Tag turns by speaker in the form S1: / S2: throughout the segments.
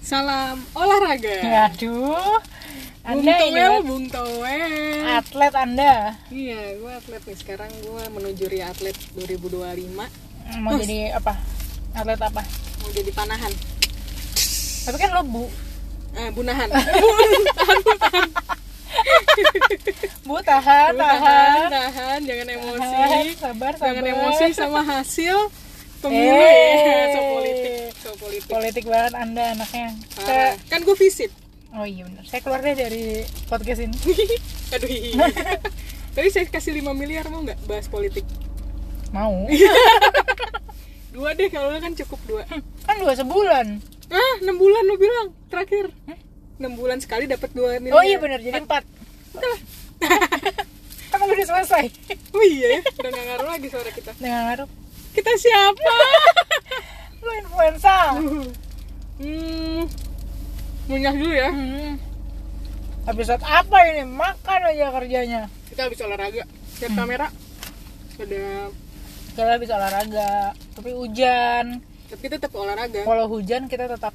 S1: Salam olahraga.
S2: Waduh.
S1: Bung
S2: Anda Ya, ini
S1: Toel,
S2: ya,
S1: Bung Toel.
S2: atlet Anda.
S1: Iya, gue atlet nih. Sekarang gue menuju Ria Atlet 2025.
S2: Mau jadi apa? Atlet apa?
S1: Mau jadi panahan.
S2: Tapi kan lo bu,
S1: Eh, bunahan.
S2: bu tahan,
S1: tahan,
S2: tahan,
S1: tahan. Jangan emosi.
S2: tahan, sabar, sabar.
S1: Jangan emosi sama hasil pemilu.
S2: Eh.
S1: ya. so politik. So politik.
S2: Politik banget Anda anaknya.
S1: Parah.
S2: Saya-
S1: Kan gue visit.
S2: oh iya benar. Saya keluar deh dari podcast ini.
S1: Aduh. hihi. Tapi saya kasih 5 miliar mau nggak bahas politik?
S2: Mau?
S1: Iya. Dua deh kalau lu kan cukup dua.
S2: kan dua sebulan.
S1: Ah, 6 bulan lu bilang terakhir. 6 bulan sekali dapat 2 miliar.
S2: Oh iya benar. Jadi empat. Kan udah selesai.
S1: Oh iya ya, udah gak ngaruh lagi suara kita.
S2: Dengan ngaruh.
S1: Kita siapa?
S2: Lo influencer.
S1: hmm. Munyah dulu ya.
S2: Hmm. Episode apa ini? Makan aja kerjanya.
S1: Kita habis olahraga.
S2: Hmm.
S1: Lihat kamera. Ada
S2: Kita habis olahraga, tapi hujan.
S1: tapi kita tetap olahraga.
S2: Kalau hujan kita tetap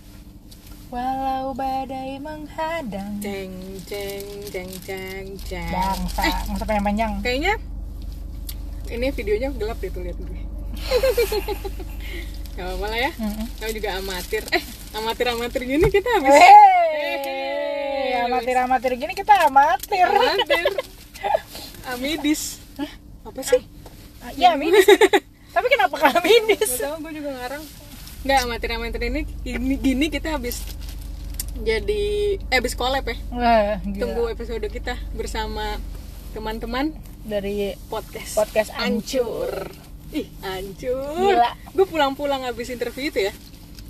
S2: walau badai menghadang.
S1: Ceng ceng ceng ceng ceng.
S2: Bangsa, nggak usah panjang-panjang.
S1: Kayaknya ini videonya gelap deh tuh lihat gue. Gak apa-apa lah ya.
S2: Mm-mm.
S1: Kamu juga amatir. Eh, amatir-amatir gini kita habis
S2: Hey, amatir-amatir gini kita amatir.
S1: amatir. Amidis. Apa sih?
S2: Iya, midis. Tapi kenapa kalah midis?
S1: Gak tau, gue juga ngarang Nggak, amatir-amatir ini gini, gini kita habis jadi eh habis collab ya.
S2: Wah, gila.
S1: Tunggu episode kita bersama teman-teman
S2: dari
S1: podcast.
S2: podcast Ancur.
S1: Ih, hancur.
S2: Gila.
S1: Gue pulang-pulang habis interview itu ya.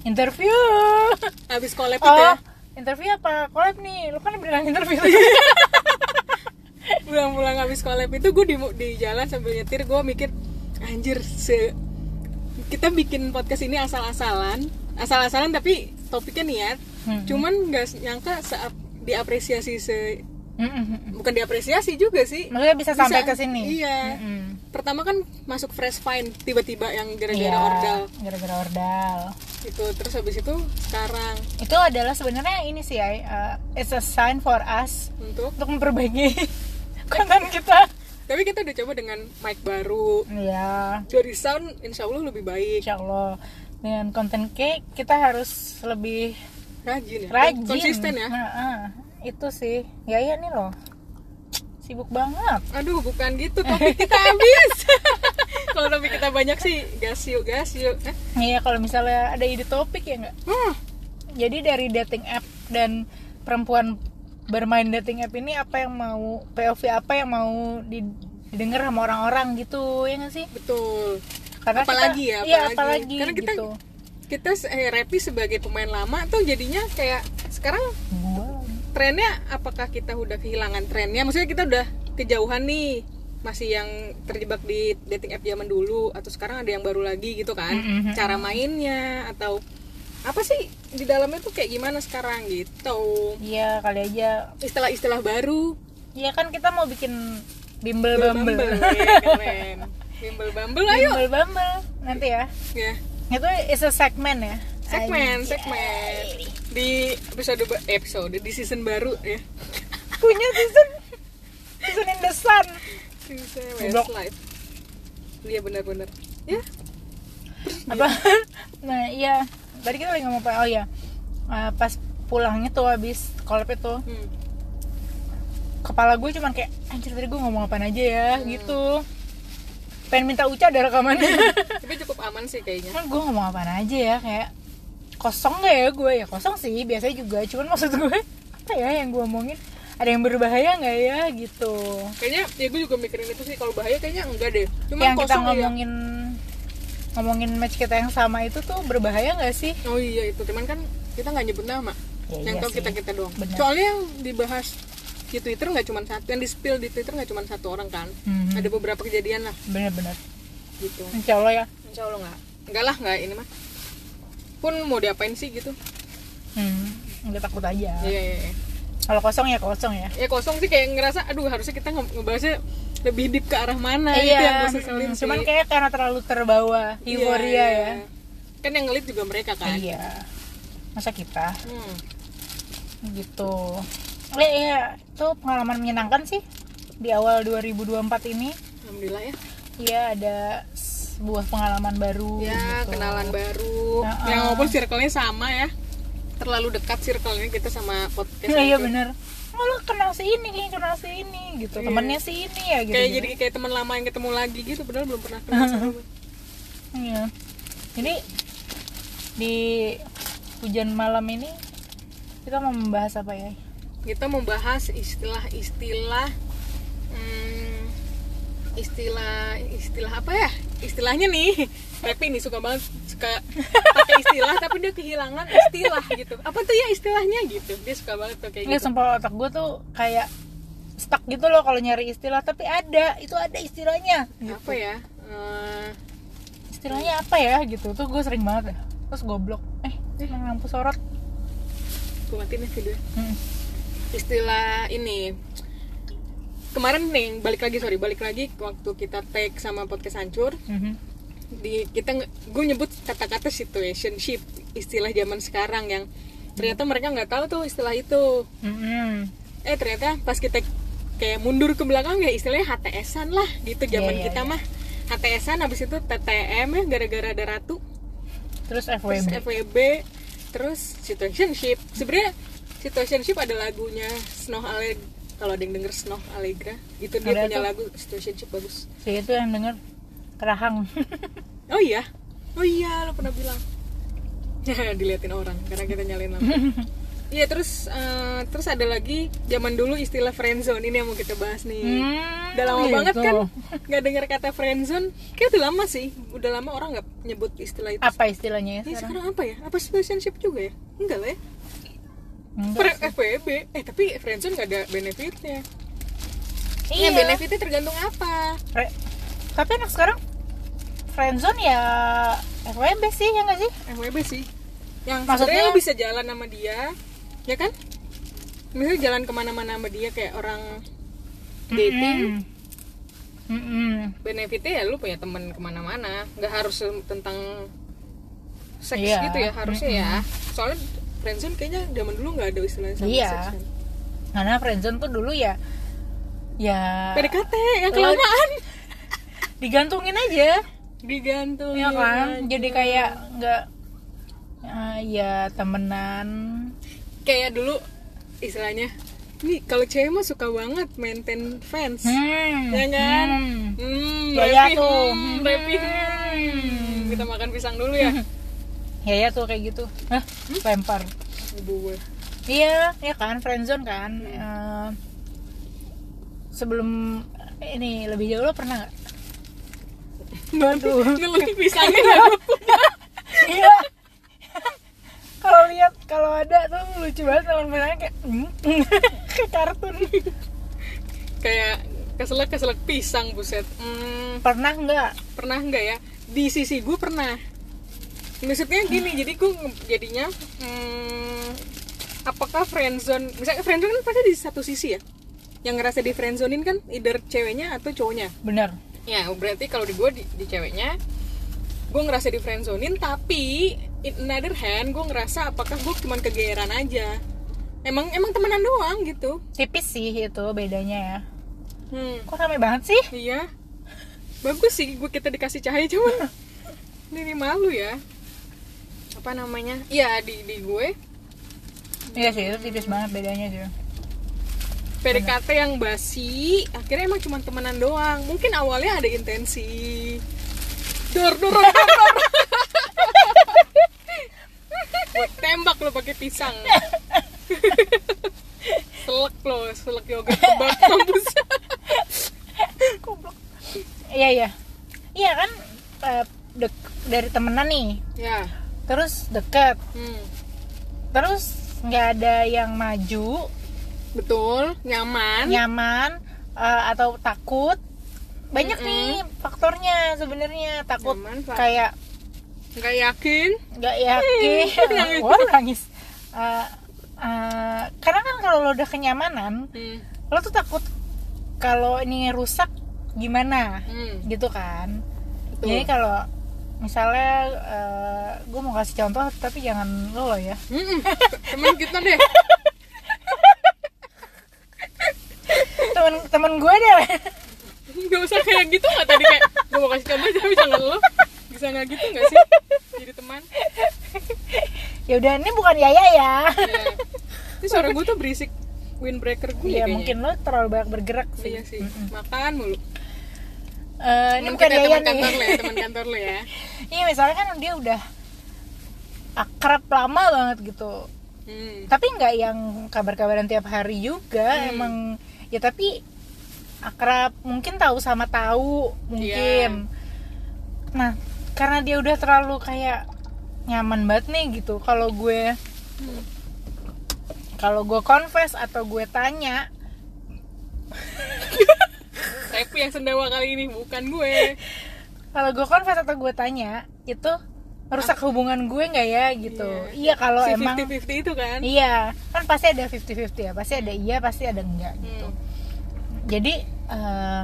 S2: Interview.
S1: Habis collab itu
S2: Oh,
S1: ya.
S2: interview apa? Collab nih. Lu kan bilang interview.
S1: Pulang-pulang habis collab itu gue di, di jalan sambil nyetir gue mikir anjir se kita bikin podcast ini asal-asalan, asal-asalan tapi topiknya niat.
S2: Hmm.
S1: Cuman nggak nyangka saat diapresiasi se
S2: Mm-mm.
S1: bukan diapresiasi juga sih
S2: Maksudnya bisa, sampai ke sini.
S1: iya
S2: Mm-mm.
S1: pertama kan masuk fresh find tiba-tiba yang gara-gara
S2: Iya,
S1: ordal
S2: Gara-gara ordal.
S1: itu terus habis itu sekarang
S2: Itu adalah sebenarnya ini sih ya, uh, it's a sign for us
S1: untuk
S2: untuk memperbaiki konten kita.
S1: tapi kita udah coba dengan mic baru
S2: Iya,
S1: dari sound insya Allah lebih baik
S2: insya Allah dengan konten cake kita harus lebih
S1: rajin ya
S2: rajin.
S1: konsisten ya
S2: Nah, ah. itu sih. Ya iya nih loh. Sibuk banget.
S1: aduh bukan gitu topik kita habis kalau topik kita banyak sih gas yuk gas yuk eh?
S2: Iya kalau misalnya ada ide topik ya enggak.
S1: hmm,
S2: Jadi dari dating app dan perempuan bermain dating app ini apa yang mau POV apa yang mau di- didengar sama orang-orang gitu ya nggak sih?
S1: betul
S2: Karena kita-
S1: Apalagi ya,
S2: iya,
S1: apalagi.
S2: apalagi
S1: Karena kita-
S2: gitu.
S1: kita eh, Repi sebagai pemain lama tuh jadinya kayak sekarang
S2: Gua.
S1: trennya apakah kita udah kehilangan trennya maksudnya kita udah kejauhan nih masih yang terjebak di dating app zaman dulu atau sekarang ada yang baru lagi gitu kan
S2: Mm-mm.
S1: cara mainnya atau apa sih di dalamnya tuh kayak gimana sekarang gitu
S2: Iya kali aja.
S1: istilah-istilah baru
S2: Iya kan kita mau bikin bimbel
S1: Bumble,
S2: bumble.
S1: ya, keren bimbel bumble ayo
S2: Bimbel bumble nanti ya.
S1: ya
S2: Itu is a segmen ya.
S1: segmen segmen di episode ba- eh, episode di season baru ya
S2: Ay, punya season season in the sun.
S1: season
S2: Goblok.
S1: Westlife iya benar-benar ya
S2: Apa? Nah iya. Tadi kita lagi ngomong apa? Oh iya. Eh, pas pulangnya tuh habis collab itu
S1: hmm.
S2: kepala gue cuman kayak anjir tadi gue ngomong apaan aja ya
S1: Hmm.
S2: gitu pengen minta uca ada rekamannya
S1: tapi cukup aman sih kayaknya
S2: Cuman gue ngomong apaan aja ya kayak kosong gak ya gue ya kosong sih biasanya juga cuman maksud gue apa ya yang gue omongin ada yang berbahaya nggak ya gitu
S1: kayaknya ya gue juga mikirin itu sih kalau bahaya kayaknya enggak deh cuma
S2: yang kita
S1: kosong ya
S2: ngomongin ngomongin match kita yang sama itu tuh berbahaya nggak sih
S1: oh iya itu cuman kan kita nggak nyebut nama
S2: Ya,
S1: yang
S2: iya
S1: tahu
S2: sih.
S1: kita kita doang
S2: Bener.
S1: soalnya yang dibahas di Twitter nggak cuma satu yang di spill di Twitter nggak cuma satu orang kan
S2: Mhm.
S1: ada beberapa kejadian lah
S2: bener-bener
S1: gitu
S2: insya allah ya
S1: insya Allah nggak nggak lah nggak ini mah pun mau diapain sih gitu
S2: hmm, nggak takut
S1: iya
S2: aja
S1: iya iya.
S2: kalau kosong ya kosong ya
S1: ya kosong sih kayak ngerasa aduh harusnya kita nge- ngebahasnya lebih deep ke arah mana Nah, itu yang gue seselin
S2: hmm, cuman
S1: sih.
S2: kayak karena terlalu terbawa
S1: Iya,
S2: euforia
S1: iya. kan yang ngelit juga mereka
S2: ya
S1: kan
S2: iya masa kita
S1: Hmm.
S2: gitu ya, ya itu pengalaman menyenangkan sih di awal 2024 ini
S1: Alhamdulillah ya.
S2: ya ada sebuah pengalaman baru
S1: Ya,
S2: gitu.
S1: kenalan baru.
S2: Ya,
S1: Yang
S2: ah.
S1: walaupun circle-nya sama ya. Terlalu dekat circle-nya kita sama podcast. gitu.
S2: iya iya
S1: itu.
S2: bener oh, lo kenal si ini kayak kenal si ini gitu
S1: Iya.
S2: temennya si ini ya gitu
S1: Kayak jadi kayak teman lama yang ketemu lagi gitu, padahal belum pernah kenal sama.
S2: iya jadi di hujan malam ini kita mau membahas apa ya
S1: kita membahas istilah-istilah hmm, istilah istilah apa ya istilahnya nih tapi nih suka banget suka pakai istilah tapi dia kehilangan istilah gitu apa tuh ya istilahnya gitu dia suka banget tuh kayak
S2: Iya
S1: gitu
S2: sumpah otak gue tuh kayak stuck gitu loh kalau nyari istilah tapi ada itu ada istilahnya
S1: apa ya Eh,
S2: istilahnya apa ya gitu tuh gue sering banget ya terus goblok eh emang lampu sorot
S1: gue matiin ya video
S2: Hmm.
S1: istilah ini kemarin nih balik lagi sorry balik lagi ke waktu kita tag sama podcast hancur
S2: Mhm.
S1: di kita nge- gue nyebut kata-kata situationship istilah zaman sekarang yang ternyata mereka nggak tahu tuh istilah itu
S2: Mhm.
S1: eh ternyata pas kita kayak mundur ke belakang ya istilahnya HTSan lah gitu zaman
S2: Iya, iya,
S1: kita
S2: iya.
S1: mah HTSan habis itu TTM ya gara-gara ada ratu
S2: terus
S1: terus
S2: FWB
S1: FWB terus situationship sebenarnya situationship ada lagunya Snow Ale kalau ada yang denger Snow Allegra itu dia
S2: Ada
S1: punya
S2: tuh.
S1: lagu situationship bagus
S2: si itu yang denger kerahang
S1: Oh iya, oh iya, lo pernah bilang. Diliatin orang karena kita nyalain lampu. Iya terus eh, terus ada lagi zaman dulu istilah friendzone ini yang mau kita bahas nih.
S2: Hmm,
S1: udah lama
S2: gitu.
S1: banget kan nggak dengar kata friendzone. Kayak udah lama sih, udah lama orang nggak nyebut istilah itu.
S2: apa istilahnya ya
S1: Ya,
S2: sekarang
S1: sekarang apa ya? Apa relationship juga ya? Enggak lah ya.
S2: Enggak.
S1: Fre- FWB. Eh tapi friendzone nggak ada benefitnya. Ya,
S2: iya
S1: benefitnya tergantung apa.
S2: Fre- tapi anak sekarang friendzone ya FWB sih ya nggak sih
S1: FWB sih yang
S2: Maksudnya-
S1: maksudnya lo bisa jalan sama dia ya kan misalnya jalan kemana-mana sama dia kayak orang dating
S2: Mm-mm. Mm-mm.
S1: benefitnya ya lu punya temen kemana-mana nggak harus tentang seks
S2: Iya.
S1: gitu ya harusnya ya soalnya friendzone kayaknya zaman dulu nggak ada istilah sama
S2: Iya.
S1: seks kan.
S2: karena friendzone tuh dulu ya ya
S1: PDKT yang kelamaan
S2: digantungin aja
S1: digantung
S2: ya kan jadi kayak nggak eh, ya temenan
S1: kayak dulu istilahnya nih kalau cewek mah suka banget maintain fans
S2: hmm.
S1: ya kan?
S2: hmm.
S1: Hmm,
S2: Ya, ya
S1: Revi,
S2: tuh.
S1: hmm, Revi,
S2: Hmm.
S1: hmm. Kita makan pisang dulu ya.
S2: ya ya tuh kayak gitu Hah? lempar
S1: Gue.
S2: iya ya kan friendzone kan Eh, sebelum eh, ini lebih jauh lo pernah nggak Aduh.
S1: Ngelih pisangnya nggak gue.
S2: iya kalau lihat kalau ada tuh lucu banget teman-temannya kayak hmm. kayak kartun
S1: Kayak keselak keselak pisang buset. Hmm,
S2: pernah nggak
S1: pernah nggak ya? Di sisi gue pernah. Maksudnya gini, jadi gue nge- jadinya hmm, apakah friendzone misalnya friendzone kan pasti di satu sisi ya yang ngerasa di friendzonein kan either ceweknya atau cowoknya
S2: bener
S1: Ya, berarti kalau di gue di, di ceweknya gue ngerasa di friendzonein tapi in another hand gue ngerasa apakah gue cuman kegeeran aja. Emang emang temenan doang gitu.
S2: tipis sih itu bedanya ya
S1: Hmm.
S2: kok rame banget sih
S1: Iya. Bagus sih gue kita dikasih cahaya cuman ini malu ya. Apa namanya? Iya, di di gue
S2: iya sih itu tipis banget bedanya sih
S1: PDKT yang basi akhirnya emang cuma temenan doang mungkin awalnya ada intensi dor dor dor, dor, dor. Gua tembak lo pakai pisang selek lo selek yogurt kebab kampus
S2: iya iya iya kan eh, dek- dari temenan nih
S1: ya
S2: terus deket
S1: hmm.
S2: terus nggak ada yang maju
S1: betul nyaman
S2: nyaman eh, atau takut banyak
S1: Mm-mm.
S2: nih faktornya sebenarnya takut
S1: Nyaman, Pak.
S2: kayak
S1: nggak yakin
S2: nggak yakin
S1: Nangis.
S2: Wah, nangis Eh, eh, karena kan kalau lo udah kenyamanan
S1: hmm.
S2: lo tuh takut kalau ini rusak gimana
S1: Hmm.
S2: gitu kan
S1: Betul.
S2: jadi kalau misalnya gue mau kasih contoh tapi jangan lo lo ya
S1: Mm-mm. Hmm, temen kita deh
S2: temen temen gue deh
S1: nggak usah kayak gitu nggak tadi kayak gue mau kasih contoh tapi jangan lo bisa nggak gitu nggak sih jadi teman
S2: ya udah ini bukan Yaya ya
S1: Iya. ini suara gue tuh berisik windbreaker gue
S2: ya mungkin lo terlalu banyak bergerak sih Hmm.
S1: iya sih makan mulu
S2: Eh, ini
S1: Temen
S2: bukan
S1: kita,
S2: Yaya
S1: teman kantor lo
S2: nih
S1: ya teman kantor lo ya
S2: iya misalnya kan dia udah akrab lama banget gitu
S1: hmm.
S2: tapi nggak yang kabar-kabaran tiap hari juga
S1: Hmm.
S2: emang ya tapi akrab mungkin tahu sama tahu
S1: Iya.
S2: mungkin nah karena dia udah terlalu kayak nyaman banget nih gitu kalau gue
S1: Hmm.
S2: kalau gue confess atau gue tanya
S1: Tapi yang sendawa kali ini bukan gue
S2: kalau gue confess atau gue tanya itu merusak hubungan gue nggak ya gitu iya kalau
S1: si
S2: emang
S1: 50-50 itu kan
S2: Iya, kan pasti ada 50-50 ya, pasti ada iya, pasti ada enggak gitu.
S1: Hmm.
S2: Jadi eh,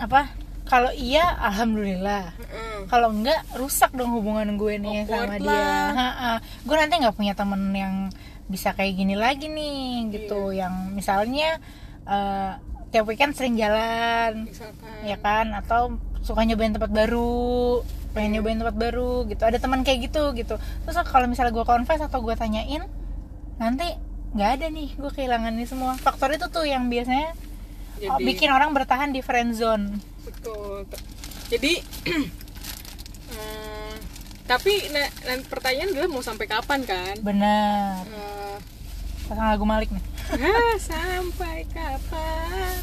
S2: apa? Kalau iya, alhamdulillah.
S1: Heeh.
S2: Kalau enggak, rusak dong hubungan gue nih sama
S1: Awkward
S2: dia.
S1: lah.
S2: Ha-ha. Gue nanti nggak punya temen yang bisa kayak gini lagi nih, gitu.
S1: Iya.
S2: Yang misalnya eh, tiap weekend sering jalan,
S1: misalkan
S2: ya kan? Atau suka nyobain tempat baru,
S1: Iya.
S2: pengen nyobain tempat baru gitu. Ada teman kayak gitu gitu. Terus kalau misalnya gue confess atau gue tanyain, nanti nggak ada nih gue kehilangan ini semua. Faktor itu tuh yang biasanya oh,
S1: Jadi-
S2: bikin orang bertahan di friend zone.
S1: betul jadi eh, tapi nah, nah, pertanyaan adalah mau sampai kapan kan
S2: Bener.
S1: Eh,
S2: Pasang lagu Malik nih.
S1: ah, sampai kapan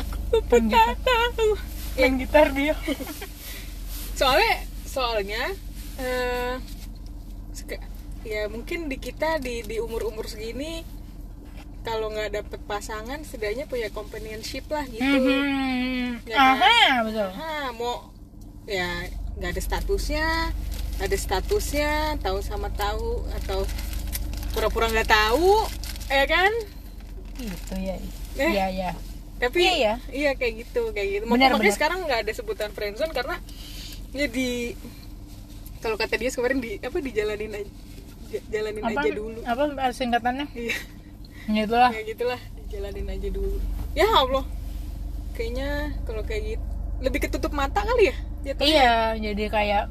S1: aku
S2: Main
S1: pun
S2: gitar.
S1: tak tahu
S2: Main gitar dia.
S1: Gitu. soalnya soalnya eh, sek- ya mungkin di kita di di umur umur segini kalau nggak dapet pasangan setidaknya punya companionship lah gitu
S2: Mhm.
S1: Ya kan?
S2: Aha, betul.
S1: Hah, mau ya nggak ada statusnya nggak ada statusnya tahu sama tahu atau pura-pura nggak tahu ya kan
S2: Gitu ya.
S1: Eh.
S2: Iya, iya.
S1: tapi
S2: Iya, iya.
S1: kayak gitu kayak gitu
S2: Benar,
S1: makanya
S2: benar.
S1: sekarang nggak ada sebutan friendzone karena ya di kalau kata dia kemarin di apa dijalanin aja ja- jalanin
S2: Apa
S1: aja dulu
S2: apa singkatannya?
S1: iya
S2: Ya itulah.
S1: kayak gitulah jalanin aja dulu ya allah kayaknya kalau kayak gitu lebih ketutup mata kali ya jatuhnya
S2: Iya, jadi kayak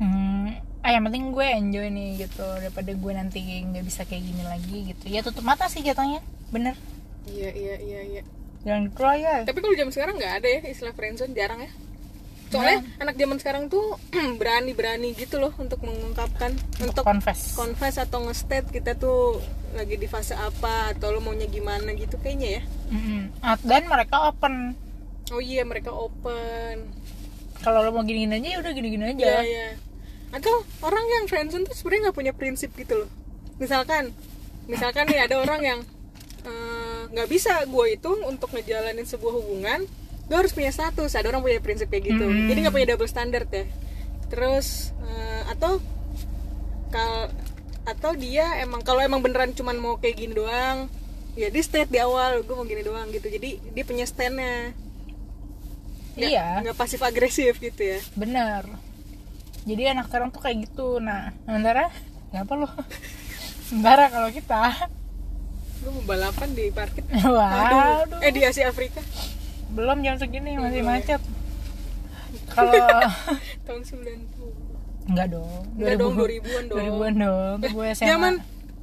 S2: hmm, ah yang penting gue enjoy nih gitu daripada gue nanti nggak bisa kayak gini lagi gitu. Ya tutup mata sih jatuhnya, bener.
S1: iya iya iya iya
S2: Jangan gitu lah, ya.
S1: tapi kalau zaman sekarang nggak ada ya istilah friendzone jarang ya soalnya anak zaman sekarang tuh berani berani gitu loh untuk mengungkapkan untuk
S2: confess.
S1: confess atau nge-state kita tuh lagi di fase apa atau lo maunya gimana gitu kayaknya ya
S2: Mm-mm. Ah, Dan mereka open.
S1: oh iya mereka open
S2: Kalau lo mau gini-gini aja, ya udah gini-gini aja.
S1: ya ya atau orang yang friendzone tuh sebenarnya nggak punya prinsip gitu loh misalkan misalkan nih ada orang yang eh, nggak bisa gue itu untuk ngejalanin sebuah hubungan gue harus punya status ada orang punya prinsip kayak gitu
S2: Hmm.
S1: jadi nggak punya double standard ya terus eh, atau kal atau dia emang kalau emang beneran cuman mau kayak gini doang ya di state di awal gue mau gini doang gitu jadi dia punya standnya Nggak-
S2: Iya.
S1: nggak pasif agresif gitu ya
S2: Bener. Jadi anak sekarang tuh kayak gitu. Nah, sementara kenapa lo? Sementara kalau kita,
S1: lu mau balapan di parkir
S2: waduh,
S1: Aduh. eh di Asia Afrika
S2: belum jam segini masih
S1: Belum ya.
S2: macet. Kalau
S1: tahun 90
S2: Enggak dong.
S1: Enggak dong, 2000-an dong.
S2: 2000-an dong. Tuh gue SMA.
S1: zaman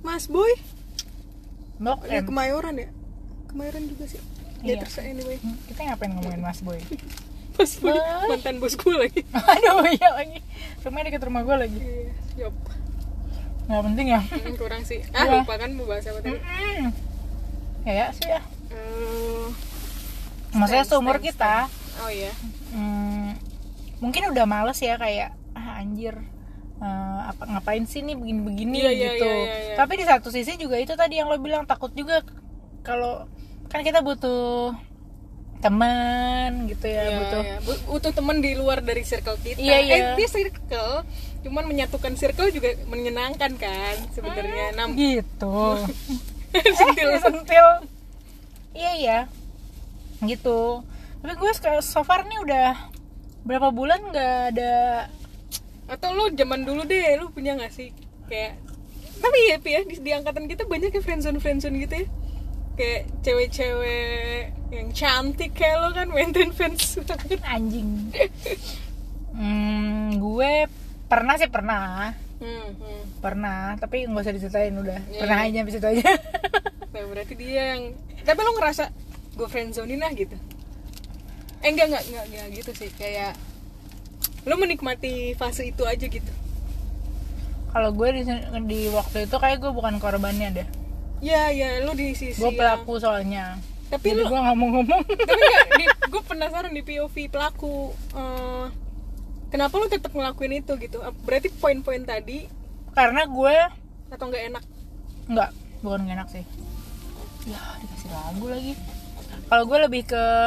S1: Mas Boy
S2: Blok
S1: ya
S2: M.
S1: Kemayoran ya Kemayoran juga sih ya
S2: Iya.
S1: terus anyway
S2: Hmm, Kita ngapain ngomongin Mas Boy?
S1: Mas Boy
S2: Boy.
S1: mantan bos gue lagi
S2: Aduh, iya lagi. Rumahnya dekat rumah gue lagi.
S1: iya yop
S2: Nggak penting ya.
S1: Mm, kurang sih ah
S2: Iya.
S1: lupa kan mau bahas apa tadi
S2: Mm-mm. Kayak sih ya.
S1: Eh,
S2: Maksudnya
S1: stand,
S2: seumur
S1: stand,
S2: kita
S1: stand. oh iya
S2: hmm, mungkin udah males ya kayak ah anjir eh, apa ngapain sih nih begini-begini
S1: Iya, iya,
S2: gitu.
S1: iya, iya, iya.
S2: Tapi di satu sisi juga itu tadi yang lo bilang takut juga kalau kan kita butuh teman gitu ya,
S1: Iya,
S2: butuh
S1: iya. Bu- butuh teman di luar dari circle kita
S2: Iya, iya.
S1: eh dia circle cuman menyatukan circle juga menyenangkan kan sebenarnya Nam-
S2: gitu
S1: sentil
S2: sentil iya iya gitu tapi gue seka- so far nih udah berapa bulan nggak ada
S1: atau lo zaman dulu deh lo punya nggak sih kayak tapi ya Pi ya di, di angkatan kita banyak ya friendzone friendzone gitu ya kayak cewek-cewek yang cantik kayak lo kan maintain fans banget
S2: anjing hmm, gue pernah sih pernah
S1: hmm, hmm.
S2: pernah tapi nggak usah diceritain udah
S1: Iya.
S2: pernah aja sampai situ aja
S1: Nah, berarti dia yang tapi lo ngerasa gue friendzonein lah gitu eh enggak enggak enggak, enggak gitu sih kayak lo menikmati fase itu aja gitu
S2: kalau gue di, di waktu itu kayak gue bukan korbannya deh
S1: ya ya lo di sisi
S2: gue
S1: yang-
S2: pelaku soalnya
S1: tapi lo
S2: Jadi gue nggak mau ngomong
S1: tapi enggak gue penasaran di POV pelaku eh, kenapa lo tetap ngelakuin itu gitu Ap- berarti poin-poin tadi
S2: karena gue
S1: atau nggak enak
S2: nggak bukan nggak enak sih ya dikasih lagu lagi kalau gue lebih ke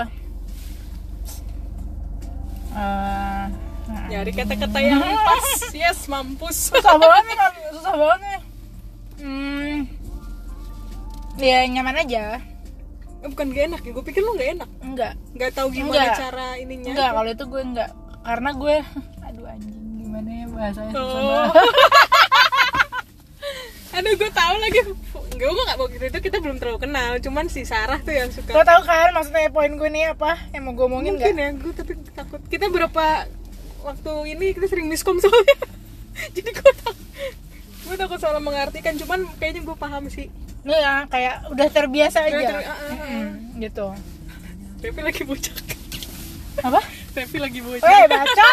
S2: eh nah,
S1: nyari kata-kata yang pas yes mampus
S2: susah banget nih kan susah banget nih hmm ya nyaman aja
S1: Eh, bukan gak enak ya gue pikir lo gak enak
S2: enggak
S1: nggak tahu gimana
S2: Enggak.
S1: cara ininya
S2: enggak kalau itu gue enggak karena gue aduh anjing gimana ya bahasanya susah
S1: Oh.
S2: banget
S1: aduh gue tahu lagi Enggak, gue gak mau gitu itu kita belum terlalu kenal cuman si Sarah tuh yang suka
S2: lo tau kan maksudnya poin gue nih apa yang mau gue omongin
S1: mungkin
S2: nggak
S1: ya gue tapi takut kita berapa waktu ini kita sering miskom soalnya jadi gue takut gue takut salah mengartikan cuman kayaknya gue paham sih
S2: Nih ya kayak udah terbiasa
S1: Udah
S2: aja
S1: ter- ah, ah, ah.
S2: Mm-mm, gitu
S1: Revi lagi bocak
S2: apa
S1: Revi lagi bocak
S2: Weh, baca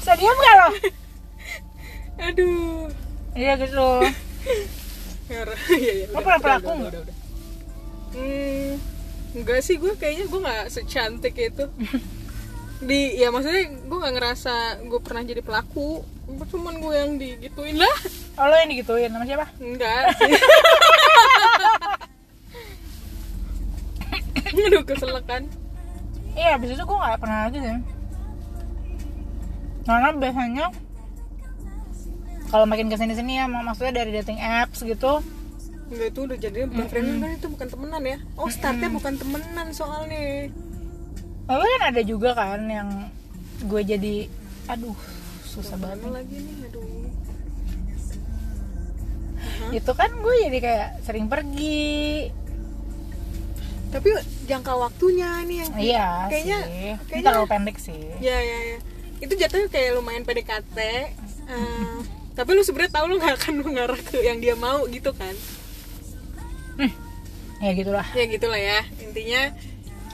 S2: bisa diem gak lo
S1: Eh! aduh
S2: iya gitu
S1: Ya, ya, ya,
S2: Lo
S1: udah,
S2: pernah
S1: udah,
S2: pelaku
S1: udah,
S2: nggak?
S1: udah, udah. Hmm, enggak sih gue kayaknya gue nggak secantik itu di ya maksudnya gue nggak ngerasa gue pernah jadi pelaku cuman gue yang digituin lah
S2: oh lo yang digituin sama siapa
S1: enggak sih aduh keselak kan
S2: iya abis itu gue gak pernah lagi sih karena biasanya kalau makin kesini sini ya mak- maksudnya dari dating apps gitu
S1: enggak itu udah jadi bukan friendzone kan itu bukan temenan ya oh startnya bukan temenan soalnya
S2: tapi kan ada juga kan yang gue jadi aduh susah banget
S1: mana lagi nih aduh
S2: itu kan gue jadi kayak sering pergi
S1: tapi jangka waktunya ini yang
S2: iya
S1: Kayaknya-
S2: sih Ini
S1: kayaknya-
S2: terlalu pendek sih
S1: Ya ya ya. Itu jatuhnya kayak lumayan PDKT. eh, tapi lu sebenarnya tahu lu nggak akan mengarah ke yang dia mau gitu kan?
S2: ya gitulah
S1: Ya gitulah ya. Intinya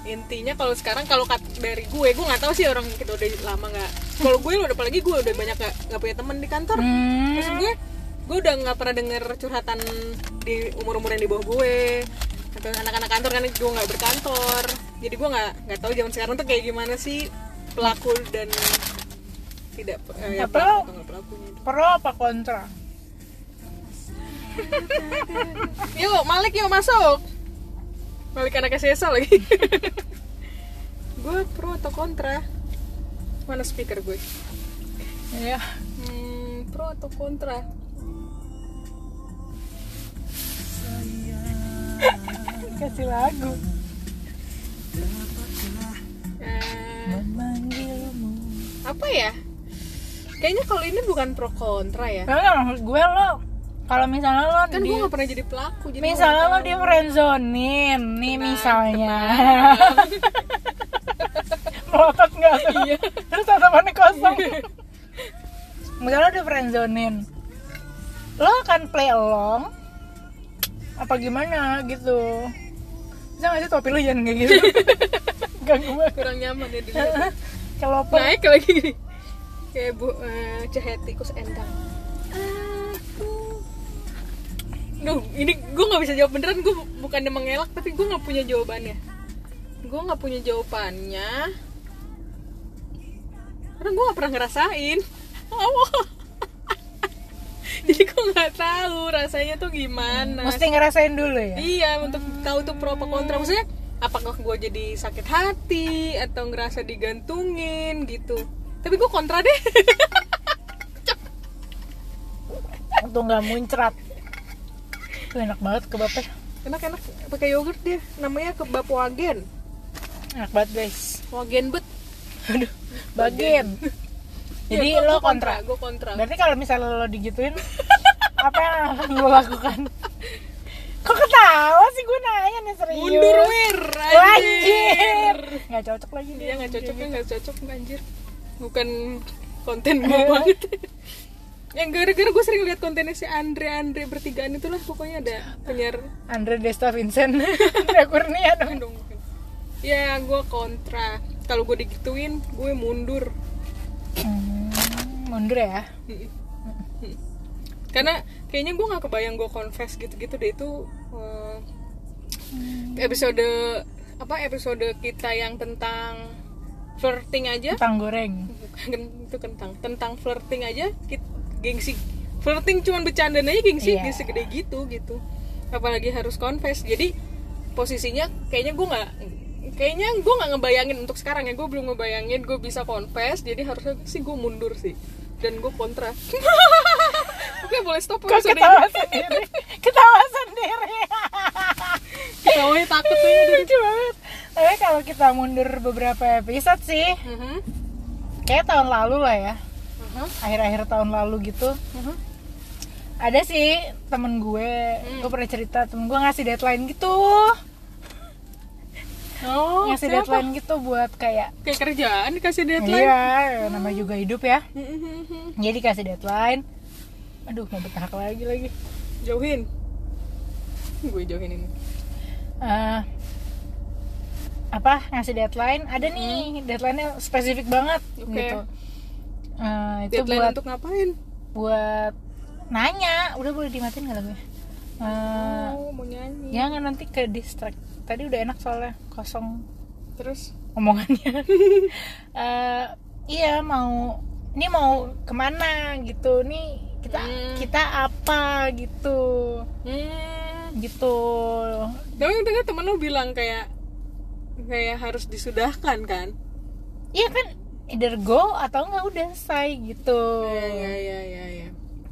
S1: intinya kalau sekarang kalau kat- dari gue gue nggak tahu sih orang kita udah lama nggak kalau gue udah apalagi gue udah banyak nggak nggak punya teman di kantor
S2: hmm,
S1: terus gue gue udah nggak pernah denger curhatan di umur umur yang di bawah gue atau anak-anak kantor kan gue nggak berkantor jadi gue nggak nggak tahu zaman sekarang tuh kayak gimana sih pelaku dan tidak eh, ya,
S2: Hmm, Apa?
S1: pelaku atau nggak pelakunya
S2: pro apa kontra
S1: yuk Malik yuk masuk Malik anak SSL lagi gue pro atau kontra mana speaker gue Iya.
S2: ya
S1: Hmm, pro atau kontra?
S2: kasih lagu
S1: Eh,
S2: memanggilmu
S1: apa ya? Kayaknya kalau ini bukan pro kontra ya.
S2: Tapi kan maksud gue lo kalau misalnya lo
S1: Kan
S2: di,
S1: gue gak pernah jadi pelaku. Jadi
S2: misalnya
S1: gua
S2: lo
S1: nggak
S2: di
S1: tahu.
S2: friendzonin nih
S1: Tenang,
S2: misalnya
S1: tenang.
S2: melotot nggak tuh
S1: Iya.
S2: terus tatapannya kosong misalnya lo di friendzonin lo akan play along apa gimana gitu bisa nggak sih topi lo jangan kayak gitu ganggu banget
S1: Kurang nyaman ya dilihat.
S2: celopan
S1: Naik lagi gini. Kayak bu eh, ceheti kus endang. Aku. Duh, ini gue nggak bisa jawab beneran. Gue bukan mengelak, tapi gue nggak punya jawabannya. Gue nggak punya jawabannya. Karena gue nggak pernah ngerasain. Allah. Jadi gue nggak tahu rasanya tuh gimana.
S2: mesti ngerasain dulu ya
S1: Iya, untuk tahu tuh pro apa kontra. Maksudnya apakah gue jadi sakit hati atau ngerasa digantungin gitu. Tapi gue kontra deh.
S2: untuk nggak muncrat tuh enak banget kebabnya
S1: Enak-enak pakai yogurt dia. Namanya kebab wagen.
S2: enak banget guys
S1: Wagenbet.
S2: Aduh, bagian. Jadi
S1: Ya, gua-
S2: lo
S1: gua
S2: kontra.
S1: Gue kontra.
S2: Berarti kalau misalnya lo digituin, apa yang akan lo lakukan? Kok ketawa sih gue nanya nih serius.
S1: Mundur wir.
S2: Anjir. Nggak cocok lagi dia.
S1: Iya nggak cocok ya nggak cocok anjir. Bukan konten gue banget. Yang gara-gara gue sering lihat kontennya si Andre Andre bertigaan itulah pokoknya ada penyiar
S2: Andre Desta Vincent. Andre Kurnia dong.
S1: Bukan dong, bukan. Ya gue kontra. Kalau gue digituin gue mundur.
S2: Hmm, mundur ya.
S1: Mm-mm. Mm. Karena kayaknya gue nggak kebayang gue confess gitu-gitu deh itu eh, episode apa episode kita yang tentang flirting aja
S2: Tang goreng.
S1: bukan itu kentang tentang flirting aja kit- gengsi flirting cuman bercanda aja gengsi
S2: Iya.
S1: gengsi gede gitu gitu apalagi harus confess jadi posisinya kayaknya gue nggak kayaknya gue nggak ngebayangin untuk sekarang ya gue belum ngebayangin gue bisa confess jadi harusnya sih gue mundur sih dan gue kontra oke boleh stop
S2: Kok
S1: episode
S2: ketawa
S1: ini.
S2: sendiri? Ketawa sendiri.
S1: ketawanya takut tuh ya
S2: Lucu banget. Tapi kalau kita mundur beberapa episode sih,
S1: Mhm,
S2: kayak tahun lalu lah ya.
S1: aha,
S2: Akhir-akhir tahun lalu gitu.
S1: aha.
S2: Ada sih temen gue,
S1: Hmm.
S2: gue pernah cerita temen gue ngasih deadline gitu,
S1: oh
S2: ngasih
S1: siapa?
S2: deadline gitu buat kayak
S1: kayak kerjaan dikasih deadline
S2: Iya, ya, nama juga hidup ya.
S1: Mhm,
S2: Jadi kasih deadline. Aduh, mau betahak lagi lagi.
S1: jauhin gue jauhin ini
S2: Eh, apa ngasih deadline? Ada nih, deadline-nya spesifik banget
S1: Hmm. Oke.
S2: gitu. Eh, itu
S1: deadline
S2: buat
S1: untuk ngapain
S2: buat nanya, udah boleh dimatiin nggak lagunya? Eh,
S1: oh mau nyanyi
S2: jangan nanti ke distract. Tadi udah enak soalnya kosong
S1: terus
S2: omongannya Eh, iya mau ini mau kemana gitu nih kita
S1: Hmm.
S2: kita apa gitu
S1: hmm
S2: gitu
S1: tapi tadi temen lu bilang kayak kayak harus disudahkan kan
S2: iya kan either go atau nggak udah say gitu
S1: iya iya iya iya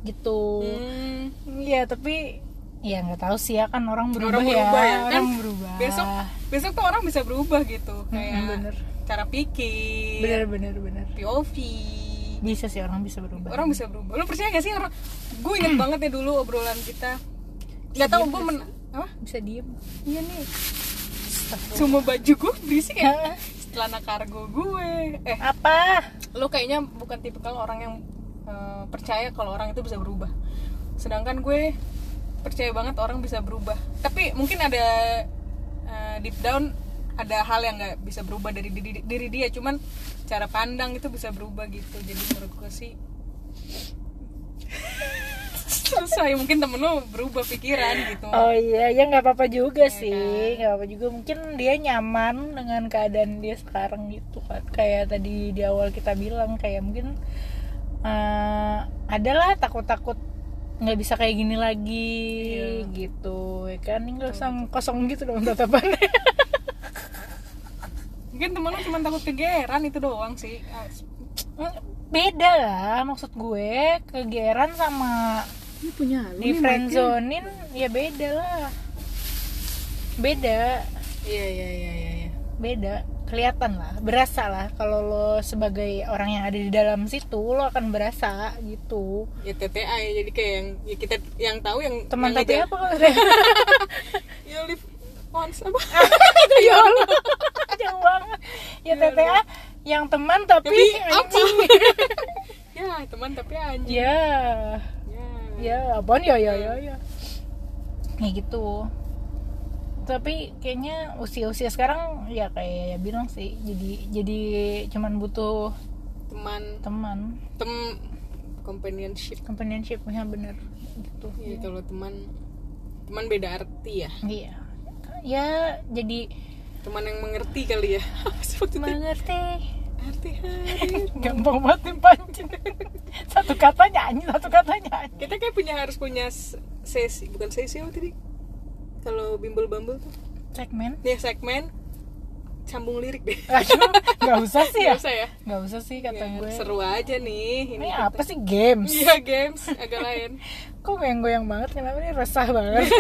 S2: gitu
S1: hmm.
S2: iya tapi ya nggak tahu sih ya kan orang berubah,
S1: Orang berubah ya, kan?
S2: orang berubah
S1: besok besok tuh orang bisa berubah gitu kayak
S2: Mm, Ah. bener.
S1: cara pikir
S2: bener bener bener
S1: POV
S2: bisa sih orang bisa berubah
S1: orang bisa berubah lu percaya gak sih orang gue inget
S2: Hmm.
S1: banget ya dulu obrolan kita nggak tahu
S2: Iya.
S1: gue men apa
S2: bisa diem
S1: iya nih cuma baju gue berisik ya celana kargo gue eh
S2: Iya. apa
S1: lo kayaknya bukan tipikal orang yang eh, percaya kalau orang itu bisa berubah sedangkan gue percaya banget orang bisa berubah tapi mungkin ada eh, deep down ada hal yang nggak bisa berubah dari diri, diri dia cuman cara pandang itu bisa berubah gitu jadi menurut gue sih selesai ya. mungkin temen lo berubah pikiran gitu
S2: Oh iya, ya nggak apa-apa juga
S1: Iya kan?
S2: sih, nggak apa-apa juga. Mungkin dia nyaman dengan keadaan dia sekarang gitu kan. Kayak tadi di awal kita bilang kayak mungkin eh, adalah takut-takut nggak bisa kayak gini lagi
S1: Iya.
S2: gitu, ya kan? Nggak usah kosong gitu dong tatapan.
S1: mungkin temen lo cuma takut kegeran itu doang sih Ah,
S2: Hmm, Beda lah, maksud gue kegeran sama
S1: ini punya lu
S2: di
S1: nih, Mike.
S2: friendzonin ya beda lah. Beda.
S1: iya iya iya iya iya.
S2: beda kelihatan lah berasa lah kalau lo sebagai orang yang ada di dalam situ lo akan berasa gitu
S1: ya TTA ya jadi kayak yang ya kita yang tahu yang
S2: teman
S1: yang
S2: tapi
S1: aja-
S2: apa kalau
S1: you live once apa
S2: itu ya Allah jauh banget ya TTA yang teman tapi
S1: Tapi Iya, apa?
S2: anjing
S1: ya teman tapi anjing
S2: ya
S1: ya,
S2: ya apaan ya ya ya ya kayak gitu tapi kayaknya usia-usia sekarang ya kayak ya bilang sih jadi jadi cuman butuh
S1: teman
S2: teman
S1: tem companionship
S2: companionshipnya bener gitu
S1: ya kalau teman teman beda arti ya
S2: Iya. Ya, jadi
S1: teman yang mengerti kali ya Apa sih maksudnya?
S2: mengerti.
S1: arti hadir
S2: Gampang banget nih pancing. satu kata nyanyi, satu kata nyanyi.
S1: kita kayak punya harus punya s- sesi bukan sesi apa tadi kalau bimbel bumble tuh
S2: Segmen.
S1: nih segmen sambung lirik deh
S2: Aduh, nggak usah sih ya.
S1: Gak usah ya
S2: Nggak usah sih kata
S1: Ya,
S2: gue.
S1: seru aja nih
S2: Ini
S1: ini
S2: apa sih games?
S1: Iya games agak lain.
S2: Kok goyang-goyang banget? Kenapa nih resah banget?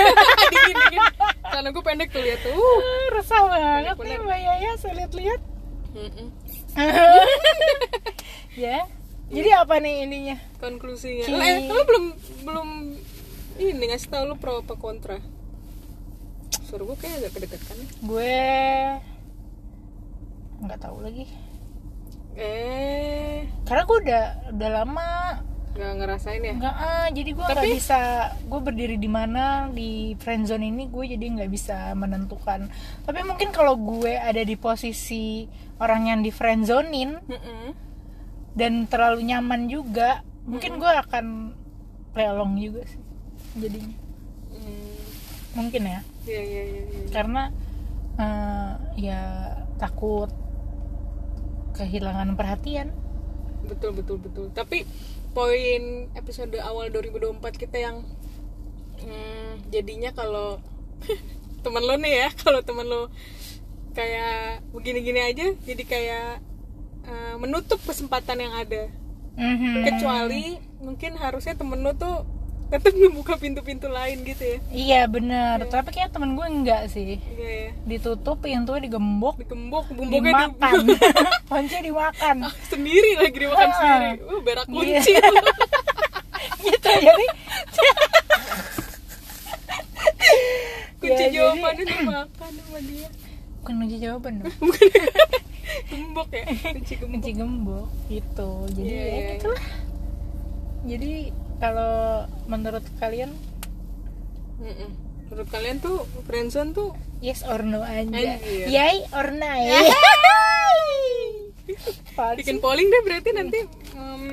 S1: dingin dingin. Karena gue pendek tuh lihat tuh.
S2: Uh, resah banget nih
S1: Bener-bener.
S2: Mbak Yaya. Saya lihat-lihat
S1: Mm-mm.
S2: ya jadi apa nih intinya
S1: konklusinya
S2: Ki-
S1: Lah, eh, lo belum belum ini ngasih tau lo pro apa kontra suara gue kayak agak kan? kedekatan
S2: gue nggak tahu lagi
S1: eh
S2: karena gue udah udah lama
S1: nggak ngerasain ya
S2: nggak ah jadi gue nggak
S1: Tapi-
S2: bisa gue berdiri di mana di friendzone ini gue jadi nggak bisa menentukan tapi mungkin kalau gue ada di posisi orang yang di friendzonein
S1: Mm-mm.
S2: dan terlalu nyaman juga mungkin gue akan play along juga sih jadinya
S1: Hmm,
S2: mungkin ya
S1: iya iya iya iya.
S2: karena eh, ya takut kehilangan perhatian
S1: betul betul betul tapi poin episode awal 2024 kita yang hmm, jadinya kalau temen lo nih ya kalau temen lo kayak begini-gini aja jadi kayak eh, menutup kesempatan yang ada Mhm. kecuali mungkin harusnya temen lo tuh tetap membuka pintu-pintu lain gitu ya
S2: iya bener tapi kayak temen gue enggak sih
S1: iya ya
S2: ditutup pintunya digembok
S1: digembok bumbuknya di-
S2: dimakan kunci dimakan
S1: Ah, sendiri lagi dimakan
S2: Ah.
S1: sendiri uh, berak
S2: Iya.
S1: kunci
S2: gitu jadi
S1: kunci
S2: Ya, jadi-
S1: jawabannya dimakan sama dia
S2: bukan kunci jawaban dong
S1: gembok ya kunci gembok
S2: kunci gembok gitu jadi
S1: Iya,
S2: ya
S1: iya,
S2: gitu lah jadi kalau menurut kalian
S1: Mm-mm. menurut kalian tuh friendzone tuh
S2: yes or no aja
S1: Anjir.
S2: yay or nay Apaan
S1: bikin
S2: sih?
S1: polling deh berarti nanti Mm. em,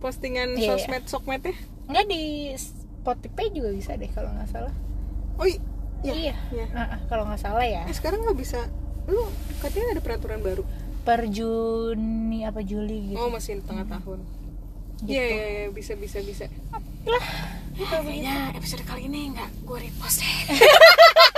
S1: postingan
S2: Iya, iya.
S1: sosmed sosmed ya
S2: nggak di Spotify juga bisa deh kalau nggak salah
S1: oh i- iya
S2: iya
S1: iya.
S2: Ah, ah, kalau nggak salah ya
S1: Eh, sekarang nggak bisa lu katanya ada peraturan baru
S2: per Juni apa Juli gitu
S1: oh masih tengah tahun
S2: Gitu.
S1: iya iya iya, bisa bisa bisa
S2: lah
S1: Eh,
S2: gitu?
S1: kayaknya episode kali ini nggak gue repost deh
S2: Ah,